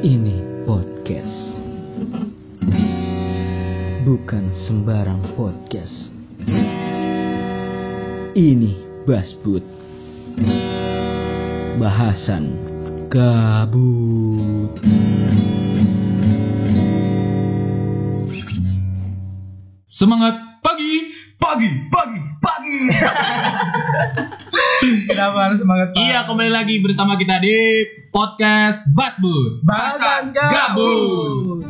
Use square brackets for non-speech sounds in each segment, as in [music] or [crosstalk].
Ini podcast Bukan sembarang podcast Ini Basbud Bahasan Kabut Semangat pagi. pagi pagi pagi kenapa harus semangat pagi? Iya, kembali lagi bersama kita di podcast Basbud. bahasan gabung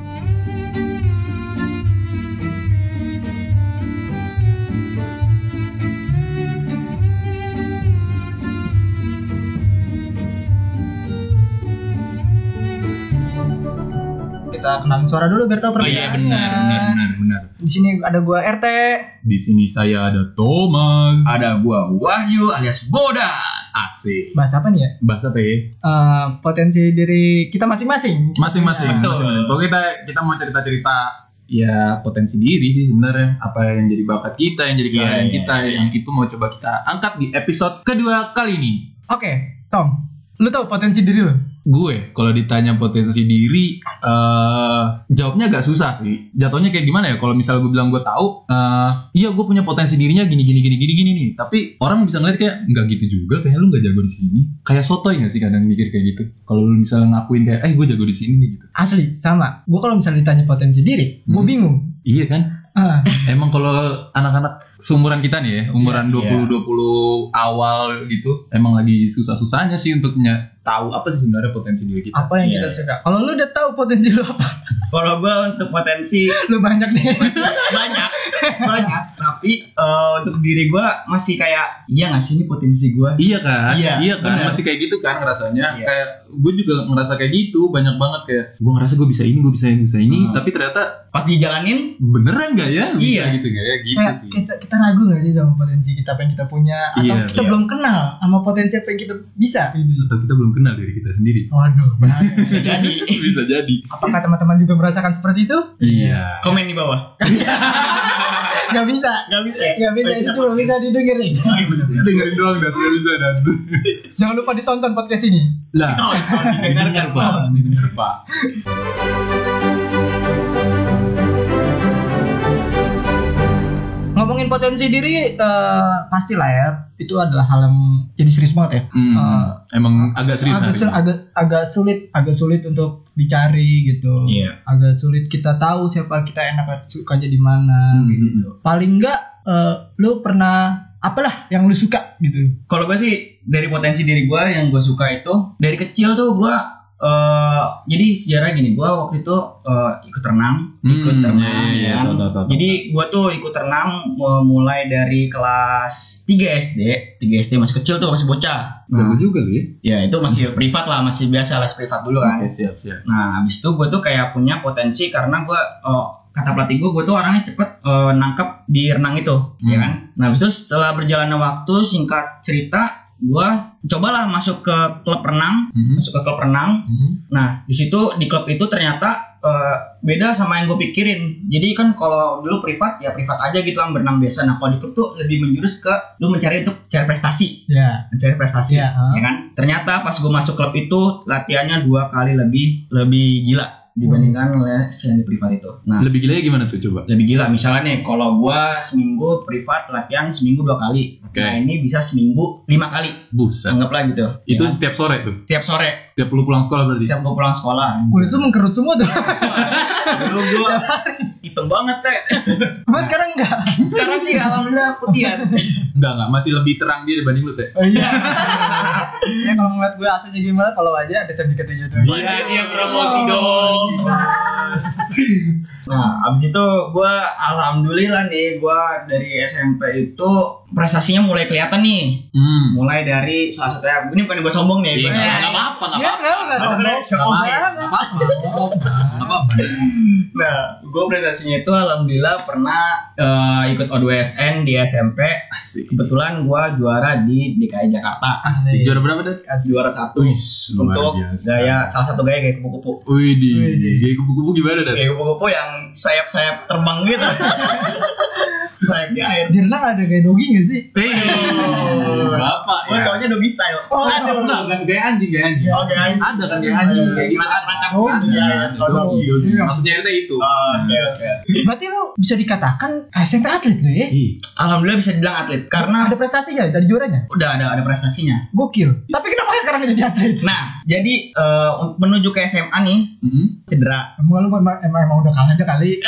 kita kenalin suara dulu biar tahu Oh perbedaan iya benar, benar, benar, benar. di sini ada gua RT Di sini saya ada Thomas. Ada gua Wahyu alias Boda AC. bahas apa nih ya Bahasa apa ya? Eh, potensi diri kita masing-masing Masing-masing. Betul. masing-masing. Pokoknya kita kita mau cerita-cerita ya potensi diri sih sebenarnya apa yang jadi bakat kita yang jadi keahlian iya, kita yang itu mau coba kita angkat di episode kedua kali ini oke Tom lu tahu potensi diri lu gue kalau ditanya potensi diri eh jawabnya agak susah sih jatuhnya kayak gimana ya kalau misalnya gue bilang gue tahu eh iya gue punya potensi dirinya gini gini gini gini gini nih tapi orang bisa ngeliat kayak nggak gitu juga kayak lu nggak jago di sini kayak sotoy nggak sih kadang mikir kayak gitu kalau lu misalnya ngakuin kayak eh gue jago di sini nih gitu asli sama gua kalau misalnya ditanya potensi diri gua Hmm. bingung iya kan [laughs] Ah, emang kalau anak-anak seumuran kita nih ya Iya, umuran 20 20 awal gitu emang lagi susah-susahnya sih untuk nye- tahu apa sih sebenarnya potensi diri kita apa yang kita Iya. suka kalau lu udah tahu potensi lu apa [laughs] Kalau gua untuk potensi lu banyak nih banyak banyak tapi eh, untuk diri gua masih kayak iya nggak sih ini potensi gua Iya kan? Iya, kan? benar. Masih kayak gitu kan ngerasanya. Iya. Kayak gue juga ngerasa kayak gitu, banyak banget kayak gue ngerasa gue bisa ini, gue bisa ini, bisa ini, Hmm. tapi ternyata pas dijalanin beneran gak ya? Bisa Iya. gitu gak ya? Gitu kayak sih. kita, kita ragu nggak sih sama potensi kita apa yang kita punya atau Iya, kita iya. belum kenal sama potensi apa yang kita bisa Atau kita belum kenal diri kita sendiri. [laughs] waduh bahaya. bisa jadi bisa jadi. apakah teman-teman juga merasakan seperti itu Iya. komen di bawah nggak bisa nggak bisa ya nggak bisa itu cuma bisa didengerin Iya, Dengerin doang dan gak bisa [laughs] dan. jangan lupa ditonton podcast ini lah. Oh, oh, Didengar pak. didengarkan, Pak. Didengar pak. ngomongin potensi diri eh, pastilah ya itu adalah hal yang jadi serius banget ya Hmm, Oh. Eh, emang agak serius agak, hari sul- ini. agak agak sulit agak sulit untuk dicari gitu Iya. agak sulit kita tahu siapa kita enak sukanya di mana Hmm. gitu paling enggak eh, lu pernah apalah yang lu suka gitu kalau gue sih dari potensi diri gue yang gue suka itu dari kecil tuh gue eh jadi sejarah gini gue waktu itu eh, ikut renang Hmm, ikut renang iya, iya, kan. tau, tau, tau, tau. jadi gue tuh ikut renang eh, mulai dari kelas 3 SD 3 SD masih kecil tuh masih bocah Jago Nah, juga lu ya. ya itu masih privat lah masih biasa les privat dulu kan Oke, siap siap. Nah, habis itu gue tuh kayak punya potensi karena gue kata pelatih gue, gue tuh orangnya cepet eh, nangkep di renang itu, ya Hmm. kan? Nah, habis itu setelah berjalannya waktu, singkat cerita, gue cobalah masuk ke klub renang, Mhm. masuk ke klub renang. Mhm. Nah, di situ di klub itu ternyata eh, beda sama yang gue pikirin. Jadi kan kalau dulu privat ya privat aja gitu kan berenang biasa. Nah, kalau di klub tuh lebih menjurus ke lu mencari untuk cari prestasi ya mencari prestasi Iya, ah. ya kan ternyata pas gue masuk klub itu latihannya dua kali lebih lebih gila dibandingkan les yang di privat itu nah Lebih gilanya gimana tuh coba? lebih gila misalnya nih kalau gue seminggu privat latihan seminggu dua kali Oke. nah ini bisa seminggu lima kali Buset. anggaplah gitu Itu ya kan? setiap sore tuh. setiap sore Setiap lu pulang sekolah berarti. setiap gue pulang sekolah kulit Iya. lu [laughs] mengkerut semua [laughs] tuh dulu gue hitam banget teh mas sekarang enggak sekarang sih alhamdulillah putihan Enggak, enggak. Masih lebih terang dia dibanding lu, Teh. oh iya [laughs] ya kalau ngeliat gue aslinya gimana kalau aja ada sertifikatnya tuh Iya, dia promosi dong. Nah, abis itu gue alhamdulillah nih, gue dari SMP itu prestasinya mulai kelihatan nih. Hmm. Mulai dari salah satunya, ini bukan gue sombong nih. Iya, gua- nggak nggak apa-apa, nggak ya apa-apa. enggak enggak Nggak sombong apa-apa, nggak apa apa Nah, gue prestasinya itu alhamdulillah pernah eh, ikut O2SN di SMP. Asik. Kebetulan gue juara di DKI Jakarta. Asik. Juara berapa, Dan? Juara satu Wih, luar untuk biasa. gaya salah satu gaya kayak kupu-kupu. Wih, di Wih, di. Iya. Eh, kupu-kupu gimana, Dan? [laughs] Kayak kupu-kupu yang sayap-sayap terbang gitu. sayap di air. Di renang ada kayak dogi gak sih? Eh. Bapak Gue ya. taunya doggy style. Oh, Ada enggak? Enggak gaya anjing, gaya anjing. Oh, gaya anjing. Eh, Ada kan gaya anjing kayak gitu. Rangkak-rangkak Oh, dogi, Ada, ya. ada. Oh, dogi. Dogi, dogi. Iya. Maksudnya itu itu. Oke, oke. Berarti lu bisa dikatakan SMP atlet lu ya? Ih, Alhamdulillah bisa dibilang atlet karena ada prestasinya dari juaranya. udah ada ada prestasinya. Gokil. Tapi kenapa sekarang jadi atlet? Nah, jadi eh, menuju ke SMA nih mm-mm. cedera. Emang lu emang, emang, emang udah kalah aja kali.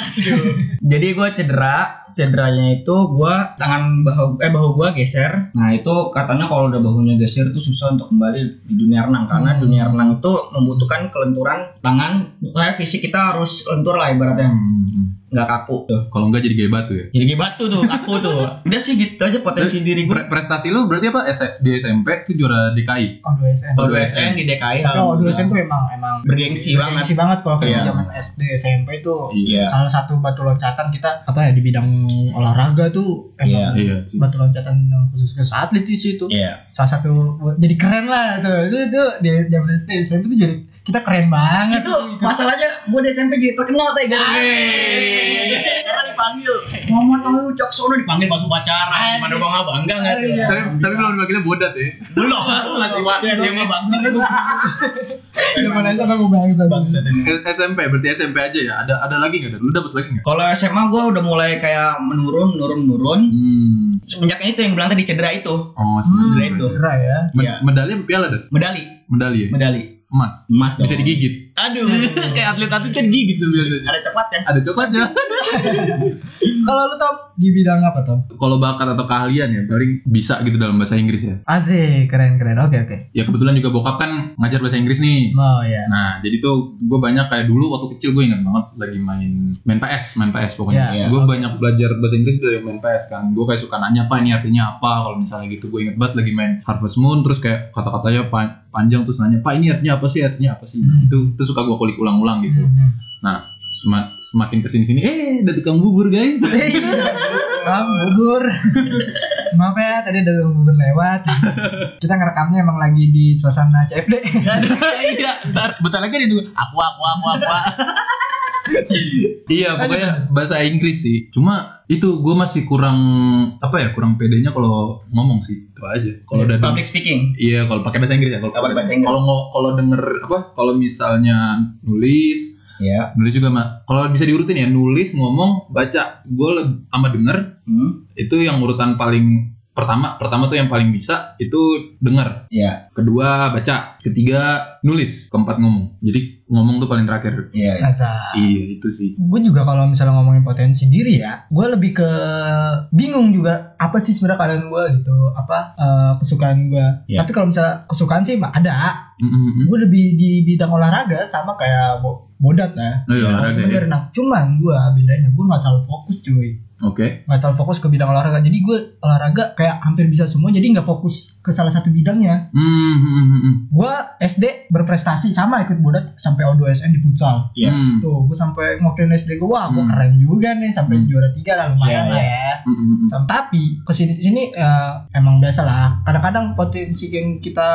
Jadi gue cedera, cederanya itu gue tangan bahu eh bahu gue geser. Nah itu katanya kalau udah bahunya geser itu susah untuk kembali di dunia renang karena dunia renang itu membutuhkan kelenturan tangan. Pokoknya fisik kita harus lentur lah ibaratnya Hmm. nggak kaku tuh. Kalau enggak jadi gaya batu ya. Jadi kayak batu tuh kaku tuh. Udah sih gitu aja potensi diri gue. Pre- prestasi lu berarti apa? S- di SMP itu juara DKI. Oh, 2 SM. Baru SN di DKI. Tapi oh, Iya, alhamdulillah. 2 SM tuh emang emang Bergengsi banget. bergengsi banget kalau kayak Iya. zaman SD SMP itu Iya. salah satu batu loncatan kita apa ya di bidang olahraga tuh emang Iya. batu loncatan yang khusus ke atlet di situ. Iya. Salah satu jadi keren lah tuh. Itu tuh di zaman SD SMP tuh jadi kita keren banget Iya, itu masalahnya gue di SMP jadi terkenal teh gara karena dipanggil Mama tahu cok sono dipanggil pas upacara gimana bangga bangga nggak tuh Tapi, tapi belum dipanggilnya bodat ya. Iya. Iya, belum aku masih waktu SMA bangsa Zaman SMA gue bangsa. Bangsa. S- SMP berarti SMP aja ya. Ada ada lagi nggak? Ada? Lu dapat lagi nggak? kalau SMA gue udah mulai kayak menurun menurun menurun Hmm. semenjaknya itu yang bilang tadi cedera itu Oh, cedera sebenarnya itu Keren ya. Med- Iya. medali apa piala deh? medali Medali ya. medali Emas. emas dong. Bisa digigit. aduh [laughs] Kayak atlet-atlet kan gigit tuh biasanya. ada ya? coklatnya Ada coklatnya. Kalau lu Tom di bidang apa Tom? [laughs] Kalau bakat atau keahlian ya paling bisa gitu dalam bahasa Inggris ya. Asik, keren keren. Oke oke. Ya kebetulan juga bokap kan ngajar bahasa Inggris nih. Oh ya. Nah, jadi tuh gue banyak kayak dulu waktu kecil gue ingat banget lagi main main PS, main PS pokoknya. Iya, iya. Gue banyak belajar bahasa Inggris dari main PS kan. Gue kayak suka nanya apa ini artinya apa kalau misalnya gitu. Gue inget banget lagi main Harvest Moon terus kayak kata-katanya pan- panjang terus nanya, "Pak, ini artinya apa sih? Artinya apa sih?" Hmm. Itu itu suka gue kulik ulang-ulang gitu. Hmm. Nah, sema- semakin kesini sini eh ada tukang bubur guys. [laughs] Bang bubur. Maaf ya, tadi ada tukang bubur lewat. Kita ngerekamnya emang lagi di suasana CFD. iya, ntar bentar lagi dia juga aku aku aku aku. iya, pokoknya bahasa Inggris sih. Cuma itu gue masih kurang apa ya, kurang pedenya kalau ngomong sih. Itu aja. Kalau udah public speaking Iya, kalau pakai bahasa Inggris ya. Kalau Kalau pakai bahasa bahasa Inggris. Kalau ngo- kalau denger apa? Kalau misalnya nulis, ya nulis juga mah. Kalau bisa diurutin ya, nulis, ngomong, baca. Gue sama denger hmm. itu yang urutan paling pertama. Pertama tuh yang paling bisa itu denger ya kedua baca ketiga nulis keempat ngomong jadi ngomong tuh paling terakhir ya ya. Nah, iya itu sih gue juga kalau misalnya ngomongin potensi diri ya, gue lebih ke bingung juga apa sih sebenarnya keadaan gue gitu, apa eh, kesukaan gue. Iya. Tapi kalau misalnya kesukaan sih mah ada. Mm-mm-mm. Gue lebih di bidang olahraga sama kayak bo- bodat ya. oh iya olahraga ya Bener, nah, cuman gue bedanya gue nggak selalu fokus cuy. oke nggak terlalu fokus ke bidang olahraga jadi gue olahraga kayak hampir bisa semua jadi nggak fokus ke salah satu bidangnya Mm, Mm-mm-mm-mm. gue SD berprestasi sama ikut bodat sampai O2SN di futsal Iya. Mm. tuh gue sampai ngokin SD gue wah gue Hmm. keren juga nih sampai Hmm. juara tiga lah lumayan Iya, lah iya. ya Mm-mm-mm. Sam- tapi kesini sini eh, emang biasa lah kadang-kadang potensi yang kita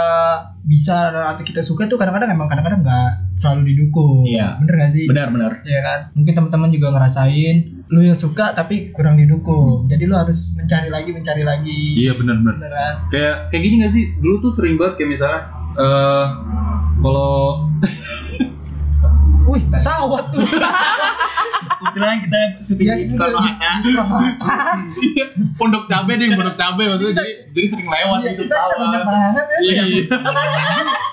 bisa atau kita suka tuh kadang-kadang emang kadang-kadang nggak selalu didukung Iya. bener gak sih benar benar ya kan mungkin teman-teman juga ngerasain lu yang suka tapi kurang didukung jadi lu harus mencari lagi mencari lagi iya benar-benar beneran kayak kayak gini gak sih dulu tuh sering banget kayak misalnya eh kalau wih pesawat tuh kebetulan kita ya syuting di itu Soekarno Hatta [laughs] pondok cabe deh pondok cabe maksudnya jadi, jadi sering lewat Iya, gitu kita ada banyak pesawat. banget ya iya iya.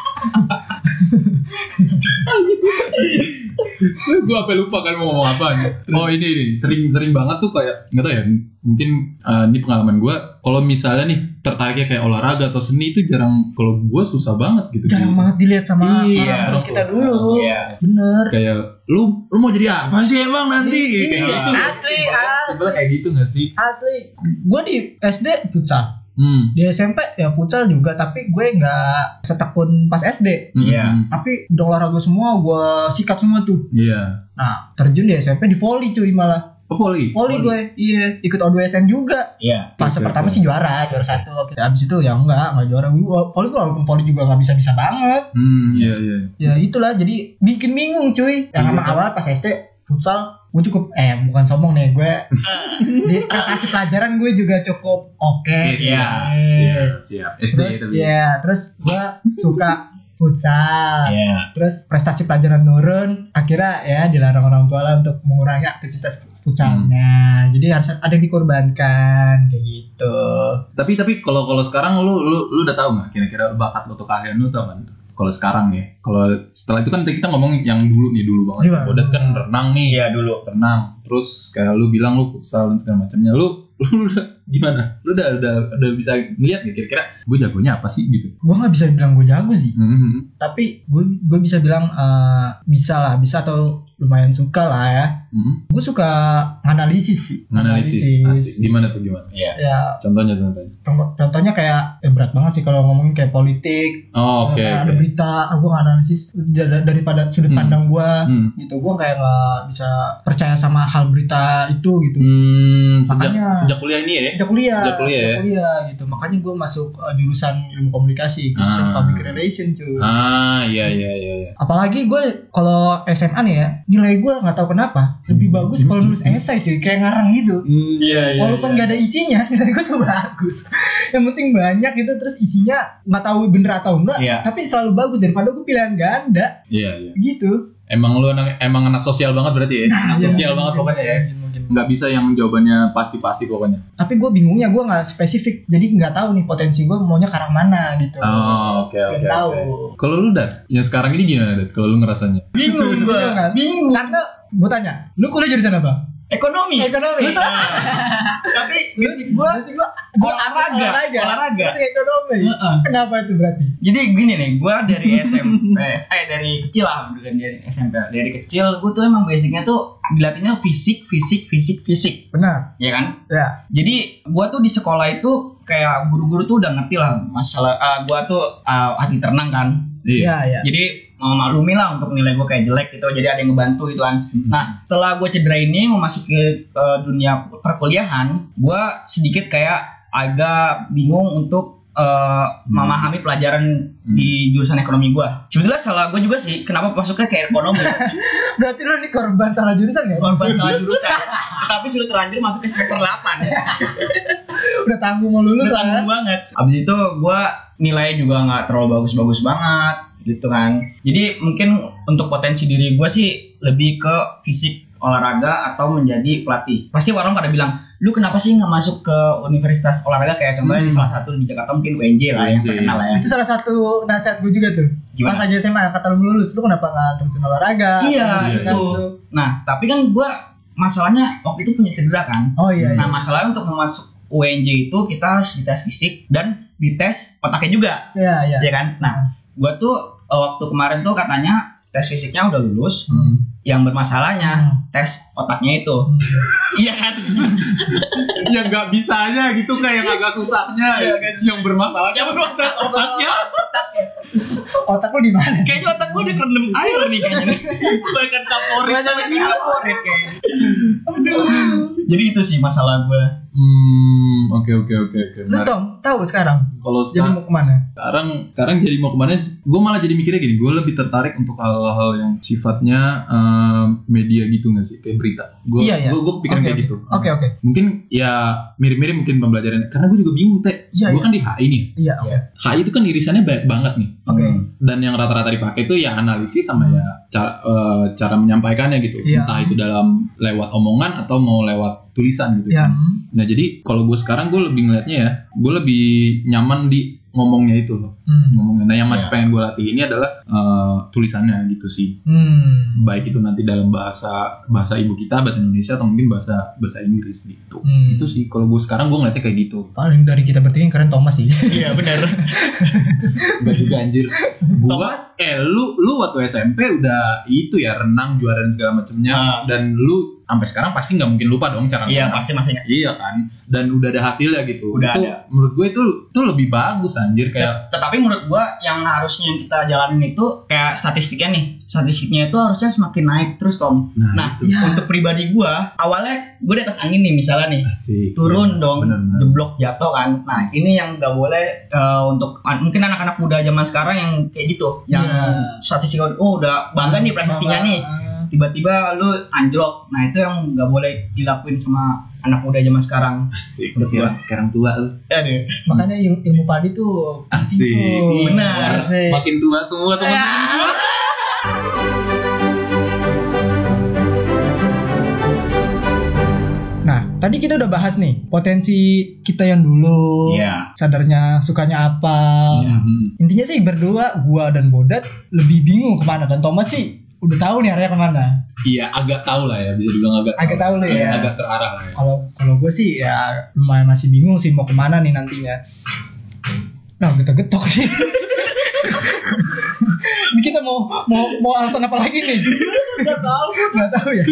gue apa lupa kan mau ngomong apa oh ini ini sering-sering banget tuh kayak nggak tahu ya mungkin eh, ini pengalaman gue kalau misalnya nih tertariknya kayak olahraga atau seni itu jarang kalau gue susah banget gitu jarang Jadi, banget dilihat sama Iya. orang kita dulu Iya. bener kayak lu lu mau jadi apa sih emang nanti Iya. kayak gitu Asli, asli. sebenarnya kayak gitu nggak sih asli gue di SD futsal hmm di SMP ya futsal juga tapi gue nggak setekun pas SD Iya. Mm-mm. tapi udah olahraga semua gue sikat semua tuh hmm. iya nah terjun di SMP di volley cuy malah oh volley volley Volley. gue iya ikut O2SN juga Iya. fase Oke, pertama oke. sih juara juara satu Oke, abis itu ya enggak enggak juara gua volley gua walaupun volley juga nggak bisa bisa banget hmm iya iya ya itulah jadi bikin bingung cuy Iya. yang emang awal pas SD futsal gue cukup eh bukan sombong nih gue di kasih pelajaran gue juga cukup oke Iya, gitu, Eh, siap, siap. SD terus itu. ya terus gue suka futsal Iya. terus prestasi pelajaran nurun akhirnya ya dilarang orang tua lah untuk mengurangi aktivitas futsalnya jadi harus ada yang dikorbankan kayak gitu Tapi tapi kalau kalau sekarang lu lu lu udah tahu nggak kira-kira bakat lu atau keahlian lu tuh apa? Kalau sekarang ya, kalau setelah itu kan kita ngomong yang dulu nih dulu banget. Iya. Udah kan renang nih Iya dulu. renang terus kayak lu bilang lu futsal dan segala macamnya lu [laughs] lu udah gimana lu udah udah udah bisa ngeliat gak kira-kira gue jagonya apa sih gitu gue nggak bisa bilang gue jago sih Mhm. tapi gue gue bisa bilang eh, bisa lah bisa atau lumayan suka lah ya Mhm. gue suka analisis sih analisis asik gimana tuh gimana Iya. ya contohnya contohnya contoh- contohnya kayak eh, berat banget sih kalau ngomongin kayak politik oh, oke oke. kayak ada berita ah, gue analisis dar- daripada sudut Hmm. pandang gue Hmm. gitu gue kayak nggak bisa percaya sama hal berita itu gitu Hmm, sejak Makanya. sejak kuliah ini ya sejak kuliah Sejak kuliah ya? gitu makanya gue masuk eh, jurusan ilmu komunikasi jurusan Ah. public relation cuy ah iya iya iya iya. apalagi gue kalau SMA nih ya nilai gue nggak tahu kenapa lebih bagus kalau nulis esai cuy kayak ngarang gitu Hmm, Iya iya. walaupun nggak ada isinya [laughs] nilai gue tuh bagus yang penting banyak gitu terus isinya nggak tahu bener atau enggak Iya. tapi selalu bagus daripada gue pilihan ganda iya iya gitu emang lu anak emang anak sosial banget berarti ya anak sosial Iya, banget mungkin, pokoknya ya mungkin, mungkin. nggak bisa yang jawabannya pasti-pasti pokoknya tapi gue bingungnya gue nggak spesifik jadi nggak tahu nih potensi gue maunya karang mana gitu Oh, oke oke. Belum tahu. oke. Kalau lu dan yang sekarang ini gimana, Dad? Kalau lu ngerasanya? Bingung gue. Bingung kan? Iya, Bingung. karena gue tanya lu kuliah jurusan apa Ekonomi. Iya. ekonomi Tapi ngisip gue. Terus gua Gua olahraga Iya, olahraga. Olahraga. Terus ekonomi Heeh. kenapa itu berarti Jadi gini nih, gue dari SMP, eh dari kecil lah, bukan dari SMP. Dari kecil gue tuh emang basicnya tuh dilatihnya fisik, fisik, fisik, fisik, benar ya kan? ya Jadi gua tuh di sekolah itu kayak guru-guru tuh udah ngerti lah masalah eh, gua tuh eh, hati tenang kan. iya iya Jadi memaklumi lah untuk nilai gua kayak jelek gitu. Jadi ada yang ngebantu gitu kan. Mhm. Nah, setelah gua cedera ini memasuki eh, dunia perkuliahan, gua sedikit kayak agak bingung untuk eh, memahami pelajaran di jurusan ekonomi gua. Sebetulnya salah gua juga sih, kenapa masuknya kayak ekonomi? berarti lu ini korban salah jurusan ya Korban salah jurusan. Tapi sudah terlanjur masuk ke semester 8. udah tanggung mau lulus Udah kan tanggung banget. Abis itu gue nilainya juga nggak terlalu bagus-bagus banget gitu kan. Jadi mungkin untuk potensi diri gue sih lebih ke fisik olahraga atau menjadi pelatih. Pasti orang pada bilang, lu kenapa sih nggak masuk ke universitas olahraga kayak contohnya di Hmm. salah satu di Jakarta mungkin UNJ lah yang UNJ. terkenal lah ya. itu salah satu nasihat gue juga tuh Gimana? pas aja SMA kata lu lulus lu kenapa nggak terusin olahraga Iya Gitu kan, itu. tuh. Nah tapi kan gue masalahnya waktu itu punya cedera kan. oh iya iya Nah masalahnya untuk masuk UNJ itu kita harus dites fisik dan dites otaknya juga. iya iya ya kan nah gua tuh eh, waktu kemarin tuh katanya tes fisiknya udah lulus Hmm. yang bermasalahnya tes otaknya itu [laughs] iya kan iya. yang Ya, nggak bisanya gitu kayak yang agak Iya, susahnya kan? yang bermasalah yang bermasalah otaknya [laughs] otak lu di mana kayaknya otak gua udah kerendam air nih kayaknya [laughs] kebanyakan kapolri jadi itu sih masalah gua hmm oke oke oke oke lu menarik. Tom tahu sekarang kalau jadi sekarang mau kemana sekarang sekarang jadi mau kemana gue malah jadi mikirnya gini gue lebih tertarik untuk hal-hal yang sifatnya eh, media gitu nggak sih kayak berita gue Iya, iya. gue kepikiran Oke, kayak oke. gitu oke oke mungkin ya mirip-mirip mungkin pembelajaran karena gue juga bingung teh Iya, gue iya. kan di HI nih iya oke HI itu kan irisannya banyak banget nih Hmm. oke dan yang rata-rata dipakai itu ya analisis sama ya cara eh, cara menyampaikannya gitu Iya. entah itu dalam lewat omongan atau mau lewat tulisan gitu ya nah jadi kalau gue sekarang gue lebih ngelihatnya ya gue lebih nyaman di ngomongnya itu loh hmm. ngomongnya nah yang Iya. masih pengen gue latih ini adalah eh, tulisannya gitu sih Hmm. baik itu nanti dalam bahasa bahasa ibu kita bahasa Indonesia atau mungkin bahasa bahasa Inggris gitu Hmm. itu sih kalau gue sekarang gue ngeliatnya kayak gitu paling dari kita bertiga yang keren Thomas sih iya benar Enggak juga [laughs] anjir. Gua eh lu lu waktu SMP udah itu ya renang juara dan segala macemnya Ah. dan lu sampai sekarang pasti nggak mungkin lupa dong cara iya renang. pasti masih ingat. Iya kan? Dan udah ada hasilnya gitu. Udah itu ada. menurut gue itu itu lebih bagus anjir kayak Tet- tetapi menurut gua yang harusnya yang kita jalanin itu kayak statistiknya nih statistiknya itu harusnya semakin naik terus Tom Nah, nah, itu. Ya. untuk pribadi gua awalnya gua di atas angin nih misalnya nih asik. Ya. Iya, turun dong Bener, bener. jeblok jatuh kan nah Hmm. ini yang nggak boleh eh, untuk an- mungkin anak-anak muda zaman sekarang yang kayak gitu yang Iya. statistik oh udah bangga nih prestasinya Bangga. nih tiba-tiba lu anjlok nah itu yang nggak boleh dilakuin sama anak muda zaman sekarang Asik. Menurut gua. Sekarang tua lu. Iya aduh Makanya il- ilmu padi tuh Asik. tuh. Benar. Asik. Iya. Makin tua semua teman. Nah, tadi kita udah bahas nih potensi kita yang dulu, Iya. sadarnya sukanya apa. Iya. Intinya sih berdua, gua dan Bodat lebih bingung kemana dan Thomas sih udah tahu nih arahnya kemana. Iya, agak tahu lah ya, bisa dibilang agak Agak tahu lah ya. Agak, agak terarah lah ya. Kalau kalau gue sih ya lumayan masih bingung sih mau kemana nih nantinya. Nah, kita getok sih. [laughs] Ini kita mau mau mau alasan apa lagi nih? Gak tahu, gak tahu ya.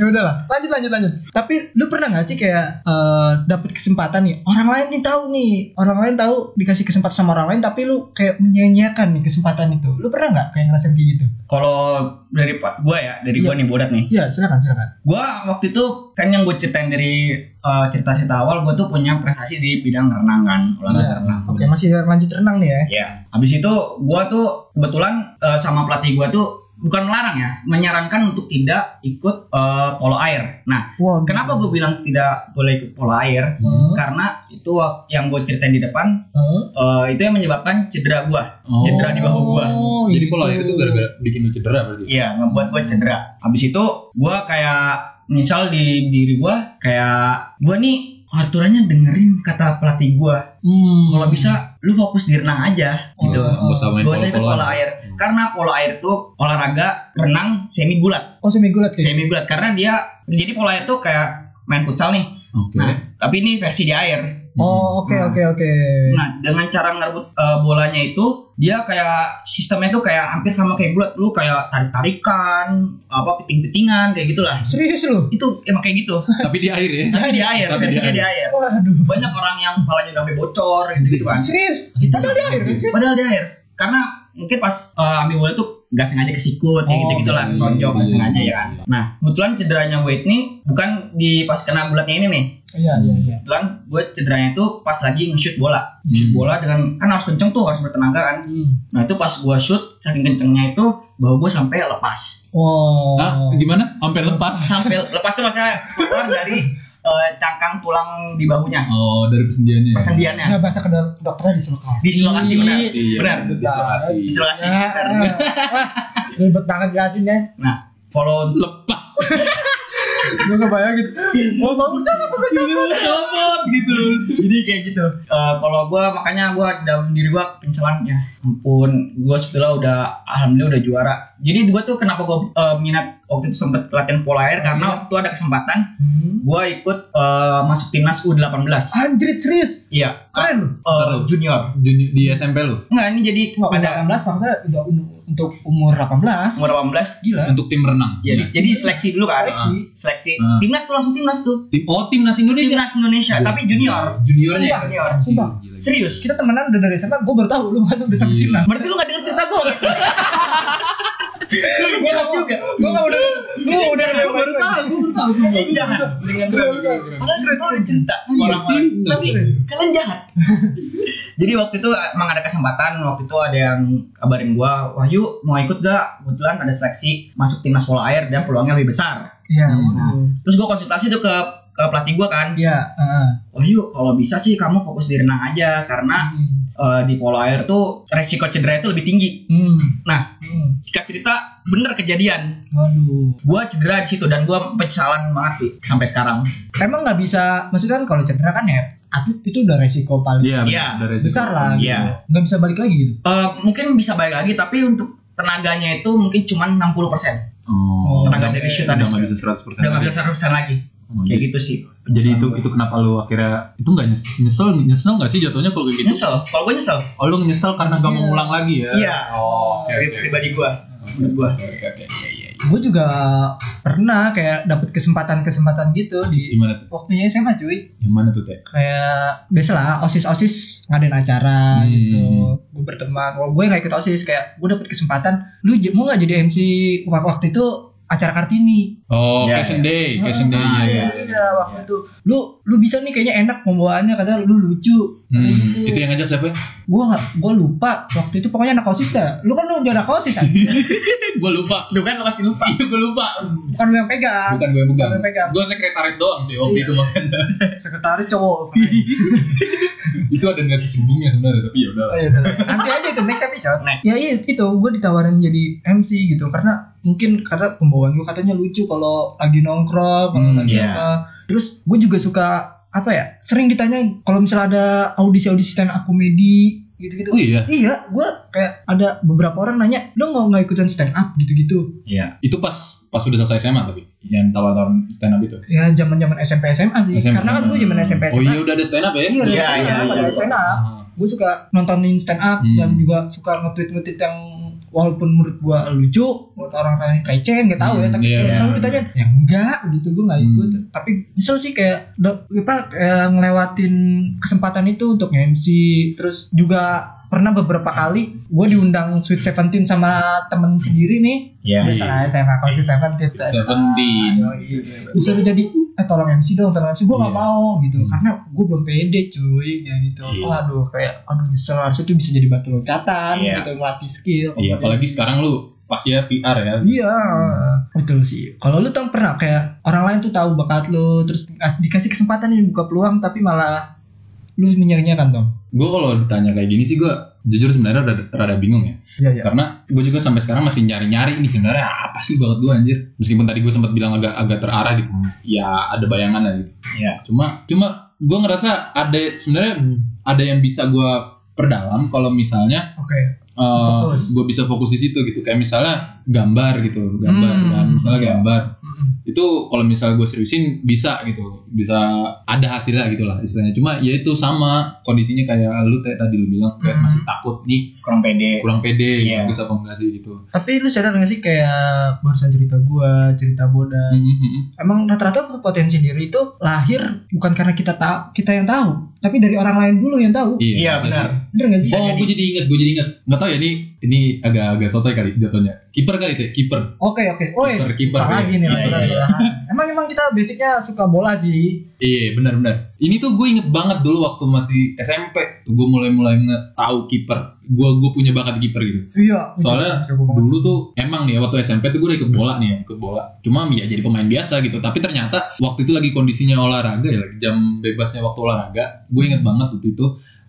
ya udahlah, lanjut lanjut lanjut. Tapi lu pernah nggak sih kayak eh, dapet kesempatan nih? Orang lain nih tahu nih, orang lain tahu dikasih kesempatan sama orang lain, tapi lu kayak menyia-nyiakan nih kesempatan itu. Lu pernah nggak kayak ngerasain kayak gitu? kalau dari pak gua ya dari Iya. gua nih bodat nih Iya, silakan silakan. gua waktu itu kan yang gue ceritain dari eh, cerita-cerita awal gua tuh punya prestasi di bidang renang kan olahraga Iya. renang Oke, masih lanjut renang nih ya. Ya, habis itu gua tuh kebetulan eh, sama pelatih gua tuh bukan melarang ya, menyarankan untuk tidak ikut eh, polo air. Nah, Wah, kenapa gue bilang tidak boleh ikut polo air? Hmm. Karena itu wak- yang gue ceritain di depan Hmm. eh, itu yang menyebabkan cedera gua, Oh. cedera di bahu gua. Oh, Jadi gitu. pola air itu gara-gara bikin lu cedera berarti. Iya, ngebuat gue cedera. Habis itu gua kayak misal di diri gua kayak gua nih aturannya dengerin kata pelatih gua. Hmm. Kalau bisa lu fokus di renang aja Nggak gitu. usah- nggak usah main Gak usah ikut pola pola-pola. air karena pola air tuh olahraga renang semi bulat Oh semi gulat kayak. semi bulat karena dia jadi pola air tuh kayak main futsal nih Oke. nah tapi ini versi di air Oh oke Nah. oke oke. nah dengan cara ngerebut eh, bolanya itu dia kayak sistemnya tuh kayak hampir sama kayak bulat lu kayak tarik tarikan apa piting pitingan kayak gitulah Serius lu? itu emang kayak gitu Tapi di air ya. tapi di air Tapi di versinya air. di air Waduh. banyak orang yang palanya udah sampai bocor gitu kan Serius? Itu Padahal dia air kan? Cip? padahal di air karena mungkin pas eh, ambil bola tuh nggak sengaja kesikut kayak Oh, gitu gitulah iya, tonjok nggak iya, sengaja iya. ya kan nah kebetulan cederanya gue ini bukan di pas kena bulatnya ini nih Iya iya iya. kebetulan gue cederanya itu pas lagi nge-shoot bola shoot Hmm. bola dengan kan harus kenceng tuh harus bertenaga kan Hmm. nah itu pas gue shoot saking kencengnya itu bahu gue sampai [laughs] lepas Wow. Ah, gimana? Sampai lepas. sampai lepas tuh maksudnya keluar dari eh, cangkang tulang di bahunya Oh, dari persendiannya. Nah, persendiannya bahasa kedok dokternya dislokasi. Dislokasi, benar. Iya, Benar. ada dislokasi. diselasi [laughs] Ya, ah. Wah, ribet banget ya. jelasinnya. nah follow Lepas. Gue kebayangin. Oh bau coba bau coba. Copot gitu. jadi kayak gitu Iya, Eh, kalau gua makanya gua dalam diri gua pencelan ya ampun gua sebetulnya udah alhamdulillah udah juara jadi gua tuh kenapa gua eh, minat waktu itu sempet latihan pola air Iya. karena waktu itu ada kesempatan Hmm. gua ikut eh, masuk timnas u18 Ah. Anjrit serius. iya Keren lu. Eh, junior Junior di SMP lu. enggak ini jadi Wah, umur pada 18 maksudnya udah um- untuk umur 18. umur 18 gila Untuk tim renang. jadi, Iya, jadi seleksi dulu kan Seleksi. seleksi Iya. Ah. timnas tuh langsung timnas tuh Tim Oh, timnas Indonesia. Iya. timnas Indonesia Nah, tapi junior Juniornya. ya? Junior. Sumpah. Gila, gila. serius Kita temenan udah dari SMA, gue baru tahu lu masuk di sama Iya. timnas. berarti lu gak denger cerita [laughs] gua gue juga Gue gak udah, gue udah Gua baru tahu, gue baru tahu Kalian jahat. Padahal cerita udah cerita orang-orang. Iya, Tapi iya. kalian jahat. [laughs] Jadi waktu itu emang ada kesempatan, waktu itu ada yang kabarin gua, Wahyu mau ikut gak? Kebetulan ada seleksi masuk timnas bola air dan peluangnya lebih besar. Iya, Nah, terus gua konsultasi tuh ke ke pelatih gua kan, iya. heeh. Wahyu kalau bisa sih kamu fokus di renang aja karena eh, di polo air tuh resiko cedera itu lebih tinggi. Hmm. Nah, Hmm. jika cerita bener kejadian, Aduh. gua cedera di situ dan gua penyesalan banget sih sampai sekarang. Emang nggak bisa, maksudnya kan kalau cedera kan ya, atlet itu udah resiko paling Iya, Iya. benar, dari situ. besar lah gitu. Iya. Nggak bisa balik lagi gitu. Eh, mungkin bisa balik lagi tapi untuk tenaganya itu mungkin cuma 60 persen Oh, tenaga oke. dari shoot udah tadi nggak udah bisa 100% persen. nggak bisa 100 persen lagi Oh, kayak jadi- gitu sih Jadi itu itu kenapa lu akhirnya itu nggak nyes- nyesel nyesel nggak sih jatuhnya kalau kayak gitu? nyesel kalau gue nyesel Oh lu nyesel karena nggak mau Iya. ngulang lagi ya? Iya. Oh, oke. dari oke. pribadi gue menurut gue Oke oke. Iya iya. iya. Gue juga pernah kayak dapet kesempatan-kesempatan gitu Asik, di iya. Gimana tuh? waktunya SMA cuy. Gimana tuh teh? kayak biasalah osis-osis ngadain acara Hmm. gitu gue berteman kalau gue nggak ikut osis kayak gue dapet kesempatan lu j- mau nggak jadi MC Wak- waktu itu acara Kartini. Oh, Iya, Cashin iya. Day, Cashin Day. Ah, iya. iya. Iya, waktu itu lu lu bisa nih kayaknya enak pembawaannya kata lu lucu. Hmm, Gitu. itu yang ngajak siapa? Gua nggak gua lupa waktu itu pokoknya anak OSIS dah. Lu kan lu jadi anak OSIS [laughs] kan? gue lupa. Lu kan pasti lupa. Iya, gue lupa. Bukan lu yang pegang. Bukan gue yang pegang. Bukan yang pegang. Gue sekretaris doang cuy waktu itu maksudnya. [laughs] Sekretaris cowok. Iya. Keren. itu ada niat sembungnya sebenarnya tapi ya udah. Oh, iya, udah. [laughs] Nanti aja itu next episode. Ya iya itu gue ditawarin jadi MC gitu karena mungkin karena pembawaan gue katanya lucu kalau lagi nongkrong, kalau Hmm, lagi iya. apa. Terus gue juga suka apa ya? Sering ditanya kalau misalnya ada audisi-audisi stand up comedy gitu-gitu. Oh iya. Iya, gue kayak ada beberapa orang nanya, lo nggak nggak ikutan stand up gitu-gitu? Iya. Itu pas pas udah selesai SMA tapi yang tawaran stand up itu. Ya zaman-zaman SMP SMA sih, SMA. karena kan gue zaman SMP SMA. Oh iya udah ada stand up ya? Iya, Iya, iya, iya, iya, iya. stand up. Ah. Gue suka nontonin stand up Hmm. dan juga suka nge-tweet-nge-tweet yang walaupun menurut gue lucu, menurut orang lain receh, nggak tahu ya. Hmm, Tapi iya, kalau iya. selalu ditanya, ya enggak gitu, gue nggak Hmm. ikut. Tapi nyesel sih kayak da- kita kayak ngelewatin kesempatan itu untuk MC, terus juga pernah beberapa kali gue diundang Sweet Seventeen sama temen sendiri nih Iya. biasa lah SMA konsi Seventeen Seventeen. Oh, iya. disuruh jadi eh tolong MC dong tolong MC gue gak Iya. mau gitu Hmm. karena gue belum pede cuy kayak gitu Iya. aduh kayak aduh nyesel harusnya itu bisa jadi batu loncatan Iya. gitu melatih skill Iya apalagi sekarang lu pasti ya PR ya. iya betul sih kalau lu tuh pernah kayak orang lain tuh tahu bakat lu terus dikas- dikasih kesempatan nih buka peluang tapi malah lu menyanyiakan dong Gue kalau ditanya kayak gini sih gue jujur sebenarnya rada, rada bingung ya. iya iya Karena gue juga sampai sekarang masih nyari-nyari ini sebenarnya apa sih banget gue anjir. Meskipun tadi gue sempat bilang agak agak terarah gitu. Hmm. Ya ada bayangan lah gitu. Iya. Cuma cuma gue ngerasa ada sebenarnya ada yang bisa gue perdalam kalau misalnya oke Fokus. gue bisa fokus di situ gitu kayak misalnya gambar gitu gambar Hmm. kan misalnya gambar Mm-mm. itu kalau misalnya gue seriusin bisa gitu bisa ada hasilnya gitu lah istilahnya cuma ya itu sama kondisinya kayak lu kayak tadi lu bilang kayak Hmm. masih takut nih Kurang pede. kurang pede Mm-hmm. Iya. bisa apa enggak sih gitu tapi lu sadar gak sih kayak barusan cerita gua cerita bodas Hmm, hmm, hmm. emang rata-rata potensi diri itu lahir bukan karena kita tahu kita yang tahu tapi dari orang lain dulu yang tahu bisa Iya, benar. sih. bener nggak sih Bisa oh jadi. gue jadi inget gue jadi inget nggak tahu ya ini ini agak agak sotoy kali jatuhnya kiper kali itu ya, kiper oke oke oh ya Kiper, kiper, salah iya. lagi nih Iya, lagi iya, lagi. iya. [laughs] emang emang kita basicnya suka bola sih Iya benar-benar. Ini tuh gue inget banget dulu waktu masih SMP, tuh gue mulai-mulai nge- tahu kiper. Gue gue punya bakat kiper gitu. iya Soalnya Suka bola. dulu tuh emang nih ya, waktu SMP tuh gue udah ikut bola nih ya, ikut bola. Cuma ya jadi pemain biasa gitu. Tapi ternyata waktu itu lagi kondisinya olahraga ya, lagi jam bebasnya waktu olahraga. Gue inget banget waktu itu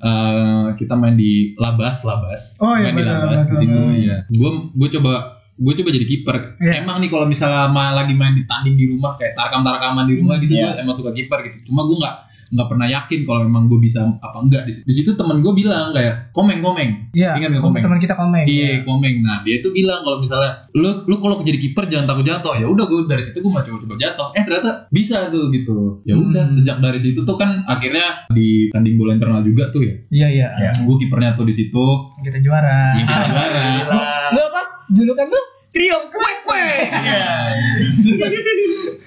eh, kita main di labas, labas. Oh, iya, main di benar, labas di labas, situ. labas. Iya. Gue gue coba gue coba jadi kiper. Iya. Emang nih kalau misalnya ma- lagi main di tanding di rumah kayak tarkam-tarkaman di rumah gitu, Iya. gue emang suka kiper gitu. Cuma gue nggak nggak pernah yakin kalau memang gue bisa apa enggak di situ. Di situ temen gue bilang kayak komeng komeng. iya Ingat nggak komeng? teman kita komen Iya, komeng. Nah, dia tuh bilang kalau misalnya lu lu kalau jadi kiper jangan takut jatuh. Ya udah gue dari situ gue mau coba-coba jatuh. Eh ternyata bisa tuh gitu. Ya udah Hmm. sejak dari situ tuh kan akhirnya di tanding bola internal juga tuh ya. iya iya Iya. Gue kipernya tuh di situ. kita juara Ya, kita juara. Gila. lu apa julukan lu trio kue kue Iya.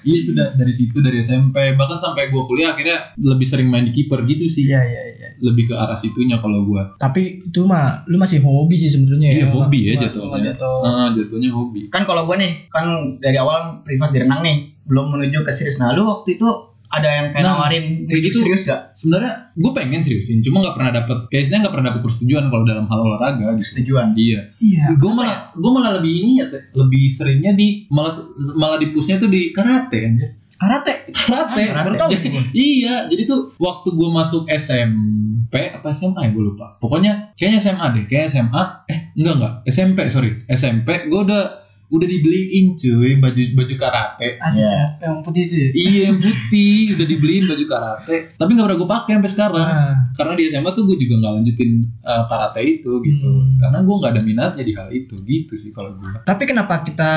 Iya itu da- dari situ dari SMP bahkan sampai gue kuliah akhirnya lebih sering main di kiper gitu sih. iya iya iya Lebih ke arah situnya kalau gue. tapi itu mah lu masih hobi sih sebenarnya Iya ya. hobi ya Lu- lu nggak jatuhnya. jatuh. Ah, jatuhnya hobi. Kan kalau gue nih, kan dari awal privat di renang nih, belum menuju ke serius. Nah, lu waktu itu ada yang kayak Nah, nawarin kayak kayak gitu. serius gak? Sebenarnya gue pengen seriusin, cuma nggak pernah dapet. Kayaknya nggak pernah dapet persetujuan kalau dalam hal olahraga. Gitu. Setujuan. Iya. iya gue malah gue malah lebih ini ya Teh. lebih seringnya di malah malah di pushnya tuh di karate kan ya karate karate, Ah, karate. baru tahu jadi, iya jadi tuh waktu gue masuk SMP apa SMA ya gue lupa pokoknya kayaknya SMA deh kayaknya SMA eh enggak enggak SMP sorry SMP gue udah udah dibeliin cuy baju baju karate Asik Iya. ya, yang putih itu ya iya yang putih udah dibeliin baju karate tapi nggak pernah gue pakai sampai sekarang Ah. karena di SMA tuh gue juga nggak lanjutin eh, karate itu gitu Hmm. karena gue nggak ada minatnya di hal itu gitu sih kalau gue Tapi kenapa kita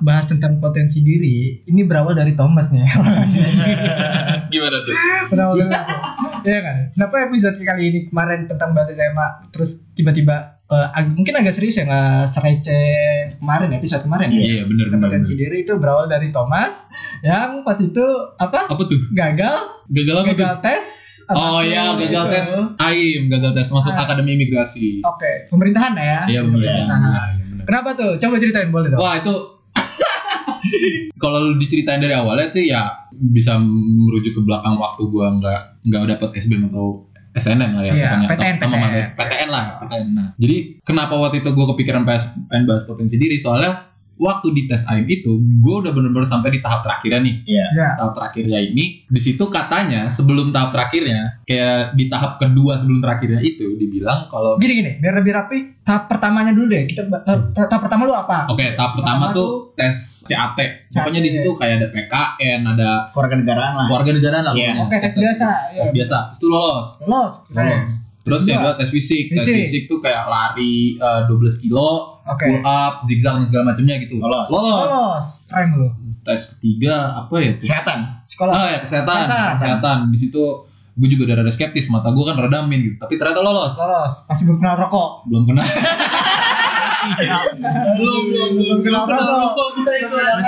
bahas tentang potensi diri? Ini berawal dari Thomas [laughs] nih. [laughs] gimana tuh? berawal dari aku. Iya kan? Kenapa episode kali ini kemarin tentang bahasa SMA terus tiba-tiba eh, ag- mungkin agak serius ya nggak sereceh kemarin episode kemarin ya. Iya benar Tentang benar. Potensi diri itu berawal dari Thomas yang pas itu apa? Apa tuh? Gagal, Gagal apa gagal tuh? tes. Oh masuk ya gagal gitu. tes AIM, gagal tes masuk Ah. akademi imigrasi. Oke, pemerintahan ya. Iya benar. Iya, Pemerintahan. benar. Kenapa tuh? Coba ceritain boleh dong. Wah itu [laughs] kalau lu diceritain dari awalnya tuh ya bisa merujuk ke belakang waktu gua nggak nggak dapat SBM atau SNM lah ya Iya, pokoknya. ya. PTN, Atau- atau PTN. materi- PTN lah PTN nah jadi kenapa waktu itu gua kepikiran PS, pengen bahas potensi diri soalnya waktu di tes AIM itu gua udah bener-bener sampai di tahap terakhirnya nih Iya. Ya. tahap terakhirnya ini di situ katanya sebelum tahap terakhirnya kayak di tahap kedua sebelum terakhirnya itu dibilang kalau Gini gini, biar lebih rapi. Tahap pertamanya dulu deh. Kita ta- ta- tahap pertama lu apa? Oke, tahap pertama tuh tes CAT. Pokoknya di CAT. situ kayak ada PKN, ada keluarga negaraan lah keluarga negara lah. Nah. Iya. pokoknya. Oke, tes biasa, Tes iya. biasa. Itu lolos. Los. Lolos. Terus yang kedua tes fisik. Tes Fisik. fisik tuh kayak lari eh, 12 kilo, Oke. pull up, zigzag dan segala macamnya gitu. Lolos. Lolos. Los. Keren lu. Tes ketiga apa ya? tuh? kesehatan Sekolah. Ah ya kesehatan, Kesehatan. kesehatan. Di situ gue juga udah ada skeptis, mata gue kan redamin gitu. Tapi ternyata lolos. Los. Masih belum kenal rokok. Belum kena. belum, belum, belum kenal rokok. kita itu ada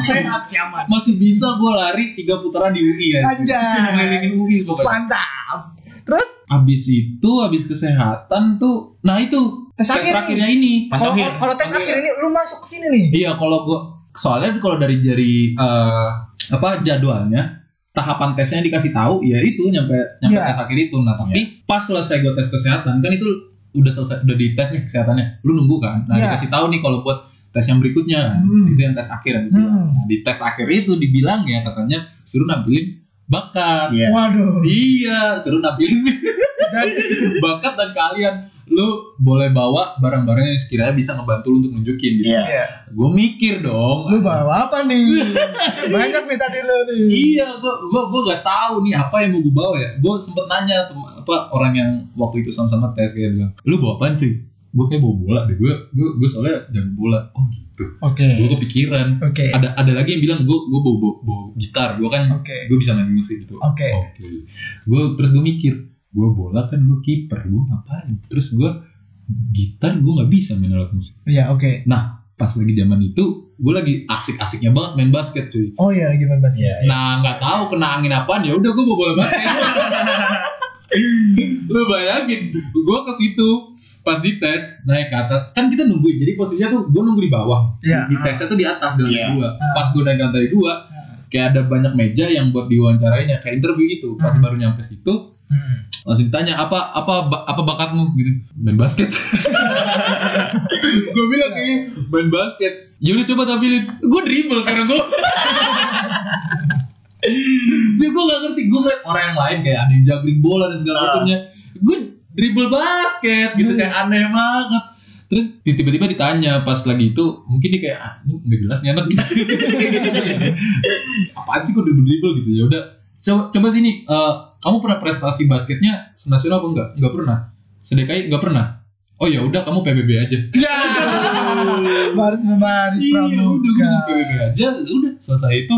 sehat siaman masih bisa gue lari tiga putaran di UI ya. Anjay. Ngelilingin UI pokoknya. Mantap. Terus Abis itu, abis kesehatan tuh, nah itu Tes akhir. terakhirnya ini. Pas kalau akhir. kalau tes akhir ini lu masuk ke sini nih. Iya, kalau gue soalnya kalau dari jari eh, apa jadwalnya tahapan tesnya yang dikasih tahu ya itu nyampe nyampe Iya. tes akhir itu nah tapi pas selesai gue tes kesehatan kan itu udah selesai udah dites nih kesehatannya lu nunggu kan nah Iya. dikasih tahu nih kalau buat tes yang berikutnya kan. Hmm. itu yang tes akhir yang dibilang. Hmm. nah di tes akhir itu dibilang ya katanya suruh nampilin bakat Iya. Waduh. Iya, seru nampilin [laughs] bakat dan kalian. Lu boleh bawa barang-barang yang sekiranya bisa ngebantu lu untuk nunjukin gitu. Iya. Iya. Gue mikir dong. Lu bawa apa [laughs] nih? Banyak nih tadi lu nih. Iya, gue gua gua gak tahu nih apa yang mau gue bawa ya. Gue sempet nanya tem- apa orang yang waktu itu sama-sama tes kayak bilang, lu bawa apaan cuy? Gue kayak bawa bola deh. Gue gue gue soalnya jago bola. Oh gitu. Oke. Gue kepikiran. Oke. Ada ada lagi yang bilang gue gue bawa, bawa, bawa gitar. Gue kan Oke. gue bisa main musik gitu. Oke. Oke. Gue terus gue mikir, gue bola kan gue kiper, gue ngapain? Terus gue gitar gue nggak bisa main alat musik. Iya, oke. Nah, pas lagi zaman itu, gue lagi asik-asiknya banget main basket cuy. Oh iya lagi main basket. Iya. Nah, nggak tahu kena angin apaan ya udah gue bawa bola [laughs] basket. Lu bayangin, gue ke situ pas dites naik ke atas kan kita nungguin jadi posisinya tuh gue nunggu di bawah Iya. di tesnya tuh di atas di lantai Iya. dua Ah. pas gue naik ke lantai dua kayak ada banyak meja yang buat diwawancarainya kayak interview gitu pas Hmm. baru nyampe situ Hmm. langsung ditanya apa apa ba- apa bakatmu gitu main [laughs] basket gue bilang ini main basket yaudah coba tampilin gue dribble karena gue jadi gue gak ngerti gue ngeliat orang yang lain kayak ada yang juggling bola dan segala Ah. macamnya gue dribble basket gitu kayak aneh banget terus tiba-tiba ditanya pas lagi itu mungkin dia kayak ah, ini nggak jelas nih anak [laughs] gitu apaan sih kok dribble dribble gitu ya udah coba coba sini eh, kamu pernah prestasi basketnya senasional apa enggak enggak pernah sedekai enggak pernah oh ya udah kamu PBB aja Ya. Baris membaris Iya, udah gue pramuka. jadi PBB aja udah selesai itu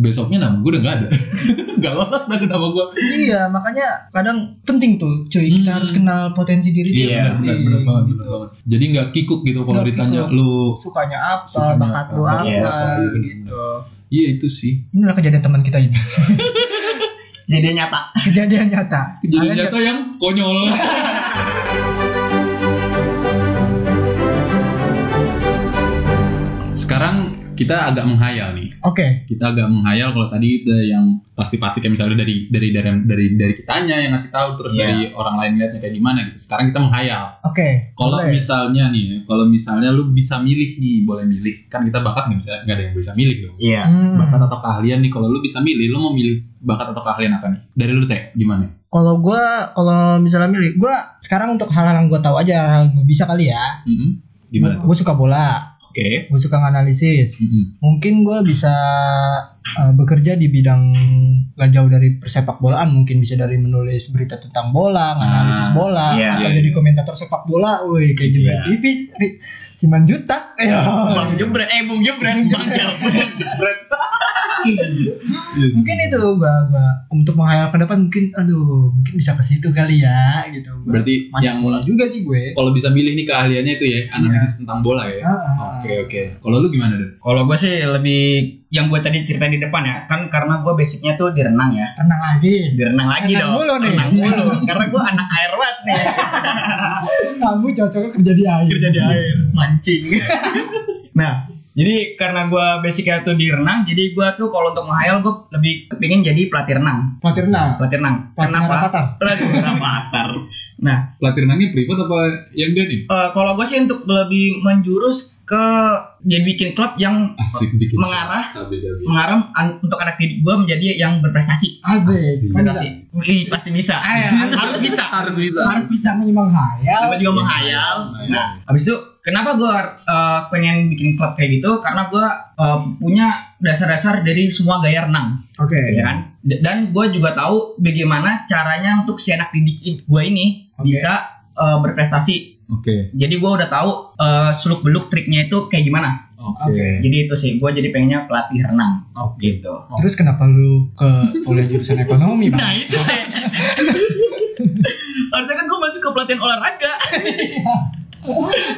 besoknya nama gue udah nggak ada [laughs] nggak lolos dah ke nama gue Iya, makanya kadang penting tuh, cuy. Hmm. Kita harus kenal potensi diri iya benar Iya, benar benar banget benar banget jadi nggak kikuk gitu kalau Nggak ditanya kikuk. lu Sukanya apa, Sukanya bakat lu apa, apa, iya, apa, iya, gitu. iya itu sih Inilah kejadian teman kita [laughs] ini. jadi nyata Kejadian nyata. kejadian Kalian nyata yang [laughs] konyol sekarang kita agak menghayal nih Oke. kita agak menghayal kalau tadi itu yang pasti-pasti kayak misalnya dari dari dari dari dari kitanya yang ngasih tahu terus Iya. dari orang lain lihatnya kayak gimana gitu. Sekarang kita menghayal. Oke. Kalau boleh. misalnya nih, ya, kalau misalnya lu bisa milih nih, boleh milih. Kan kita bakat nggak bisa nggak ada yang bisa milih dong. iya Hmm. Bakat atau keahlian nih, kalau lu bisa milih, lu mau milih bakat atau keahlian apa nih? Dari lu teh, gimana? Kalau gua kalau misalnya milih, gua sekarang untuk hal-hal yang gua tahu aja, hal yang gua bisa kali ya. Mm-mm. Gimana? tuh? Gua suka bola, Oke. gua suka analisis. Mm-mm. Mungkin gua bisa eh, bekerja di bidang gak jauh dari persepak bolaan, mungkin bisa dari menulis berita tentang bola, analisis bola, iya, atau iya, jadi komentator sepak bola, woi kayak Jebret Iya. TV, Ri- Siman Eh, Jutak, bang jebret eh bung jebret [laughs] bang jebret Iya. mungkin itu gua, gua untuk menghayal ke depan mungkin aduh mungkin bisa ke situ kali ya gitu Gua Berarti banyak yang bola juga sih gue kalau bisa milih nih keahliannya itu ya, analisis tentang bola ya. Oke Ah. oke. Kalau lu gimana deh? kalau gue sih lebih yang gue tadi cerita di depan ya kan karena gue basicnya tuh di renang ya tenang lagi di renang lagi Renang dong mulu nih. renang [laughs] mulu karena gue anak air banget nih kamu cocoknya kerja di air kerja di air mancing nah Jadi karena gue basicnya tuh di renang, jadi gue tuh kalau untuk menghayal gue lebih kepingin jadi pelatih renang. Pelatih renang. Pelatih renang. Pelatih rapatar. Pelatih rapatar. Nah, Pelatih renangnya privat apa yang dia nih? eh, kalau gue sih untuk lebih menjurus ke jadi bikin klub yang Asik bikin. mengarah Sabi-sabi. mengarah an- untuk anak didik gue menjadi yang berprestasi. Asik. Kan bisa. Berprestasi. Ih, pasti bisa. harus bisa. Harus bisa. Iya. Harus Bisa bisa. menyimang hayal. Gue juga menghayal. menghayal. Nah, habis itu kenapa gue pengen bikin klub kayak gitu? Karena gue punya dasar-dasar dari semua gaya renang, Oke. ya kan? D- Dan gue juga tahu bagaimana caranya untuk si anak didik gue ini Oke. bisa eh, berprestasi. Oke. Jadi gue udah tahu seluk beluk triknya itu kayak gimana. Oke. Jadi itu sih gue jadi pengennya pelatih renang. Oke. Gitu. Terus kenapa lu ke kuliah jurusan ekonomi, Bang? Nah itu deh. Harusnya kan gue masuk ke pelatihan olahraga.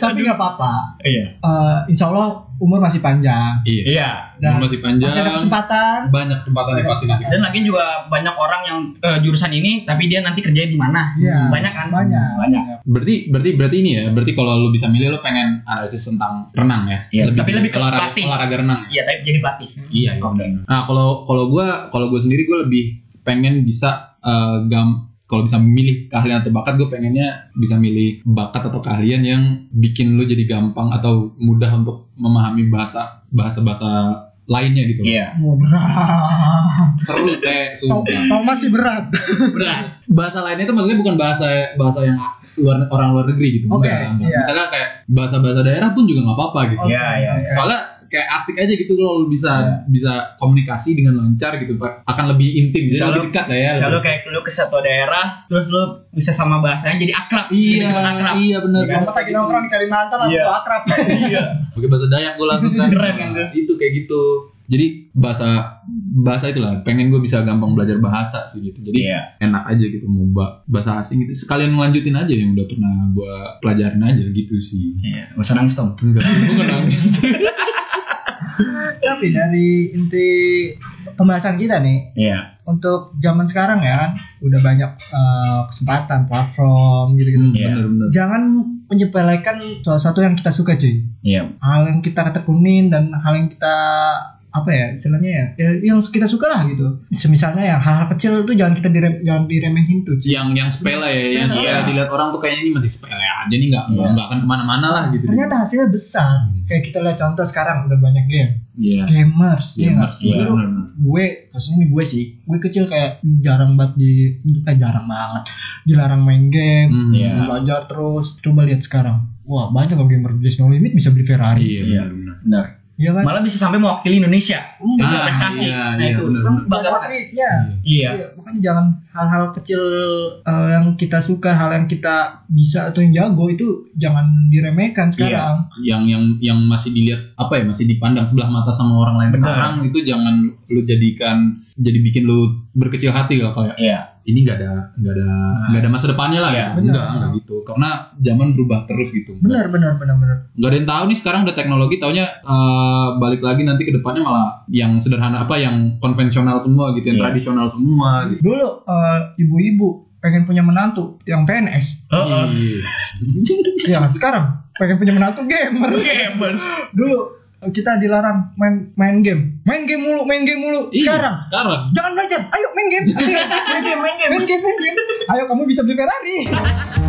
Tapi nggak apa-apa. Iya. Eh, insya Allah umur masih panjang. Iya. Iya. Dan masih panjang. Masih ada kesempatan. Banyak kesempatan yang pasti nanti. Dan lagi juga banyak orang yang eh, jurusan ini tapi dia nanti kerjanya di mana? Iya. Banyak kan? Banyak. Banyak. Berarti berarti berarti ini ya. Berarti kalau lu bisa milih lu pengen analisis tentang renang ya. Iya, tapi lebih ke olahraga, pelatih. olahraga renang. ya? Iya, tapi jadi pelatih. Iya. iya. Oke. Nah, kalau kalau gua kalau gua sendiri gua lebih pengen bisa eh, gam kalau bisa milih keahlian atau bakat, gue pengennya bisa milih bakat atau keahlian yang bikin lu jadi gampang atau mudah untuk memahami bahasa bahasa bahasa lainnya gitu. Iya. Wah, berat. Seru teh, Tau- sumpah. tau masih berat. Benar. Bahasa lainnya itu maksudnya bukan bahasa bahasa yang luar orang luar negeri gitu. Oke, Enggak, enggak. iya. Misalnya kayak bahasa-bahasa daerah pun juga nggak apa-apa gitu. Iya, iya. iya. Soalnya kayak asik aja gitu kalau lu bisa Iya. bisa komunikasi dengan lancar gitu Pak. akan lebih intim bisa Bisa lu- lebih dekat lah ya. Misal lu kayak lu ke satu daerah, terus lu bisa sama bahasanya jadi akrab. iya Jadi cepat akrab. iya benar. Kalau pas lagi nongkrong di Kalimantan langsung Iya. so akrab. Iya. Pakai bahasa Dayak gue langsung kan. [laughs] Keren kan tuh. Nah, itu kayak gitu. Jadi bahasa bahasa itulah pengen gue bisa gampang belajar bahasa sih gitu. Jadi Iya. enak aja gitu mau ba- bahasa asing gitu. Sekalian ngelanjutin aja yang udah pernah gue pelajarin aja gitu sih. Iya. Gak usah nangis, Tom. Enggak, gue nggak [laughs] nangis. Tapi dari inti pembahasan kita nih Iya. untuk zaman sekarang ya kan udah banyak eh, kesempatan platform gitu-gitu. Hmm, Iya. Bener-bener. Jangan menyepelekan salah satu yang kita suka cuy. Iya. Hal yang kita ketekunin dan hal yang kita apa ya istilahnya ya, ya yang kita suka lah gitu. Semisalnya ya hal-hal kecil itu jangan kita direm, jangan diremehin tuh. cuy. Yang yang sepele ya, yang Sepele. sepele dilihat orang tuh kayaknya ini masih sepele aja nih nggak Iya. nggak akan kemana-mana lah gitu. Hmm. Ternyata hasilnya besar. Kayak kita lihat contoh sekarang udah banyak game. Iya. gamers, Iya, ya nggak? Mars, iya, Dulu benar-benar. gue khususnya ini gue sih gue kecil kayak jarang banget di eh, jarang banget dilarang main game Hmm, Iya. belajar terus coba lihat sekarang wah banyak loh gamer There's no limit bisa beli Ferrari Iya. Iya. benar-benar. Benar. iya kan Malah bisa sampai mewakili Indonesia. Hmm, Itu Ah, prestasi. iya, nah iya, itu benar, kan Banyak bangga. atletnya. Iya. Iya, makanya jangan hal-hal kecil eh, yang kita suka, hal yang kita bisa atau yang jago itu jangan diremehkan sekarang. yang yang yang masih dilihat apa ya masih dipandang sebelah mata sama orang lain Benar. sekarang itu jangan lu jadikan jadi bikin lu berkecil hati lah kayak Iya. ini nggak ada nggak ada nggak ada masa depannya lah Nah. Iya, ya benar. enggak enggak gitu karena zaman berubah terus gitu Benar, benar, benar, benar. nggak ada yang tahu nih sekarang udah teknologi taunya eh, balik lagi nanti ke depannya malah yang sederhana apa yang konvensional semua gitu yang Iya. tradisional semua gitu Dulu eh, ibu-ibu pengen punya menantu yang PNS, Heeh. Iya. Iya kan sekarang pengen punya menantu gamer. [laughs] Iya. Gamers. Dulu eh, kita dilarang main main game, main game mulu, main game mulu. Iya, Sekarang sekarang jangan belajar, ayo main game, main game, main game, main game. Ayo kamu bisa beli Ferrari.